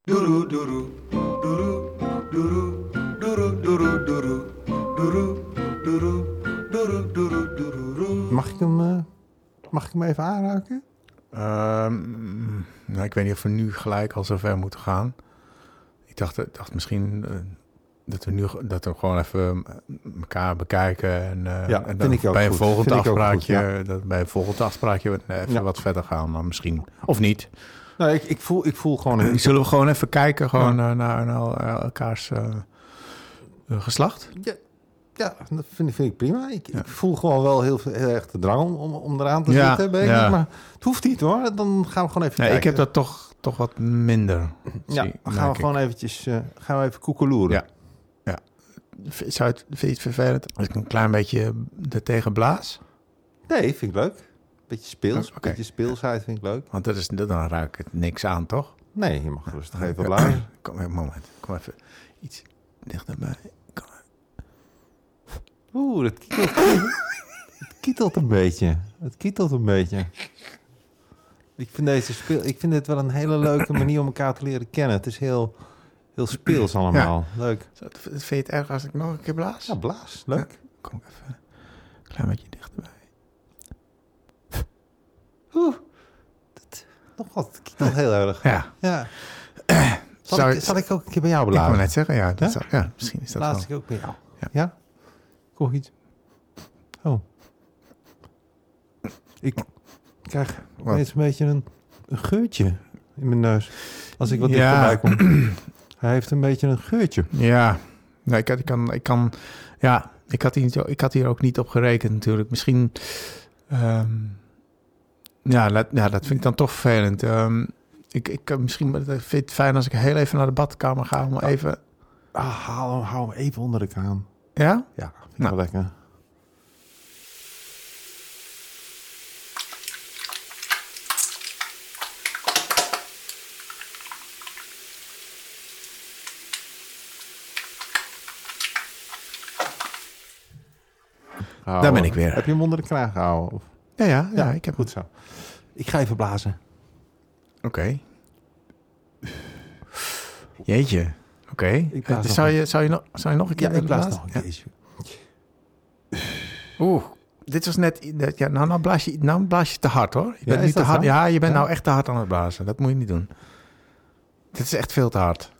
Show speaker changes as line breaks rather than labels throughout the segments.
doeroe doeroe, doeroe doeroe, doeroe doeroe doeroe, doeroe doeroe, doeroe doeroe doeroe.
Mag ik hem, eh, mag ik hem even aanraken?
Ehm, nou, ik weet niet of we nu gelijk al zover moeten gaan. Ik dacht, ik dacht misschien eh, dat we nu ge- dat we gewoon even eh, elkaar bekijken. En, eh,
Ja,
en
vind ik ook
bij een
goed.
volgend
Vind ik ook goed,
afspraakje, dat bij een volgend afspraakje we even
Ja.
wat verder gaan. Dan misschien, of niet.
Nou, ik, ik, voel, ik voel gewoon... Een,
Zullen we gewoon even kijken gewoon, eh, naar, naar elkaars eh, eh, geslacht?
ja, ja, dat vind, ik- vind ik prima. Ik, ik voel gewoon wel heel, veel- heel erg de drang om, om, om eraan te
Ja,
zitten. weet ik
ja.
niet, Maar het hoeft niet hoor. Dan gaan we gewoon even
Nee, ik
kijken.
heb dat toch, toch wat minder.
Ja,
zie-
dan
merk
gaan we
ik.
gewoon eventjes... eh, gaan we even koekeloeren.
Ja. V- Zou het, vind je het vervelend als ik een klein beetje er tegen blaas?
Nee, vind ik leuk. Beetje speels.
Oh, oké.
Beetje speelsheid vind ik leuk.
Want dat is, dan ruik ik het niks aan, toch?
Nee, je mag rustig even blazen.
Kom even, moment. Kom even iets dichterbij. Kom even.
Oeh, dat kietelt. het kietelt een beetje. Het kietelt een beetje. Ik vind, deze speel, ik vind dit wel een hele leuke manier om elkaar te leren kennen. Het is heel, heel speels allemaal. Leuk.
Zou het- Vind je het erg als ik nog een keer blaas?
Ja, blaas. Leuk.
Kom even een klein beetje dichterbij.
Nog wat. Het kietelt heel erg.
Ja,
Ja. Zal,
Zou
ik,
het-
zal ik ook een keer bij jou
ik wou
blazen?
net zeggen, ja, dat
Ja?
zou- ja misschien is dat
Blaas
wel.
ik ook bij jou.
Ja.
Ja? Kom iets. Oh. Ik krijg
Wat?
ineens een beetje een, een geurtje in mijn neus. Als ik wat
Ja.
dichterbij kom. Hij heeft een beetje een geurtje.
Ja, nee, ik, had- ik kan, ik kan, ja, ik had, hier, niet- ik had hier ook niet op gerekend natuurlijk. Misschien, ehm, ja, dat, ja, dat vind ik dan toch vervelend. Ehm, ik, ik, kan misschien vind je het fijn als ik heel even naar de badkamer ga om even,
Ah, haal hem, hou hem even onder de kraan.
ja?
Ja, vind ik
Nou.
wel lekker. Hou
Daar ben
hem.
ik weer.
Heb je hem onder de kraan gehouden? Of?
Ja, ja, ja, ik heb
Goed zo. Ik ga even blazen.
Oké. Jeetje. Oké.
Ik blaas
Eh,
nog
Zou,
een-
je, zou, je nog- zou je nog een keer
Ja, ik
willen
blaas
blazen?
nog een
Ja.
keertje.
Oeh, dit was net. net- Ja, nou, nou, blaas je, nou blaas je te hard hoor. Je bent
is
niet te
dat
hard,
zo?
ja, je bent
Ja.
nou echt te hard aan het blazen. Dat moet je niet doen. Dit is echt veel te hard.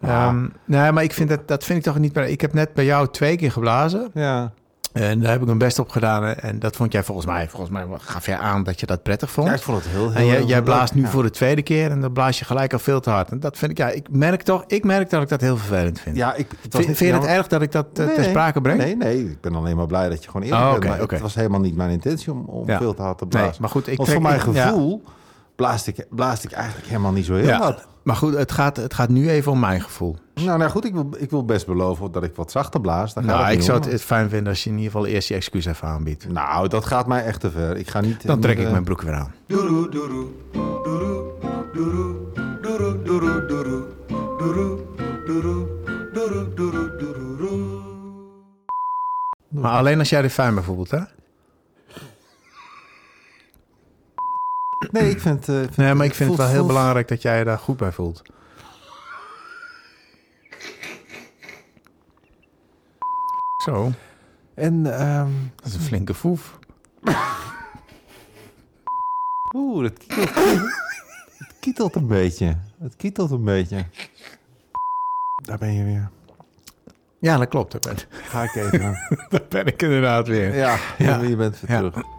Ja.
Ehm, nee, maar ik vind dat, dat vind ik toch niet meer. Ik heb net bij jou twee keer geblazen.
Ja.
En daar heb ik mijn best op gedaan. En dat vond jij volgens mij. Volgens mij gaf jij aan dat je dat prettig vond.
Ja, ik vond het heel, heel
En jij,
heel
jij
leuk.
blaast nu
Ja.
voor de tweede keer en dan blaas je gelijk al veel te hard. En dat vind ik, ja, ik merk toch, ik merk dat ik dat heel vervelend vind.
Ja, ik, het was
vind
niet-
vind je
ja,
het
maar-
erg dat ik dat eh,
Nee,
ter
nee.
sprake breng?
Nee, nee, ik ben alleen maar blij dat je gewoon eerlijk
Oh,
bent.
oké,
maar
oké.
Het was helemaal niet mijn intentie om, om
Ja.
veel te hard te
Nee,
blazen.
maar goed, ik
Want
trek-
voor mijn
ik- ja.
gevoel blaasde ik, blaasde ik eigenlijk helemaal niet zo heel hard.
Maar goed, het gaat, het gaat nu even om mijn gevoel.
Nou, nou goed, ik wil, ik wil best beloven dat ik wat zachter blaas. Daar gaat
Nou,
het
ik
niet
zou
om.
het het fijn vinden als je in ieder geval eerst je excuus even aanbiedt.
Nou, dat gaat mij echt te ver. Ik ga niet...
Dan trek
niet,
ik
eh,
mijn broek weer aan.
Doeroe doeroe, doeroe doeroe, doeroe doeroe doeroe, doeroe doeroe, doeroe doeroe doeroe.
Maar alleen als jij er fijn bijvoorbeeld, hè?
Nee, ik vind... eh, vind-
Nee, maar ik vind het wel
voelt-
heel
voelt-
belangrijk dat jij je daar goed bij voelt. Zo,
En, ehm,
dat is een flinke foef.
oeh, dat kietelt, het kietelt een beetje. Het kietelt een beetje. Daar ben je weer.
Ja, dat klopt. Daar ben,
Ga ik even.
daar ben ik inderdaad weer.
ja,
Ja.
je bent weer
Ja.
terug.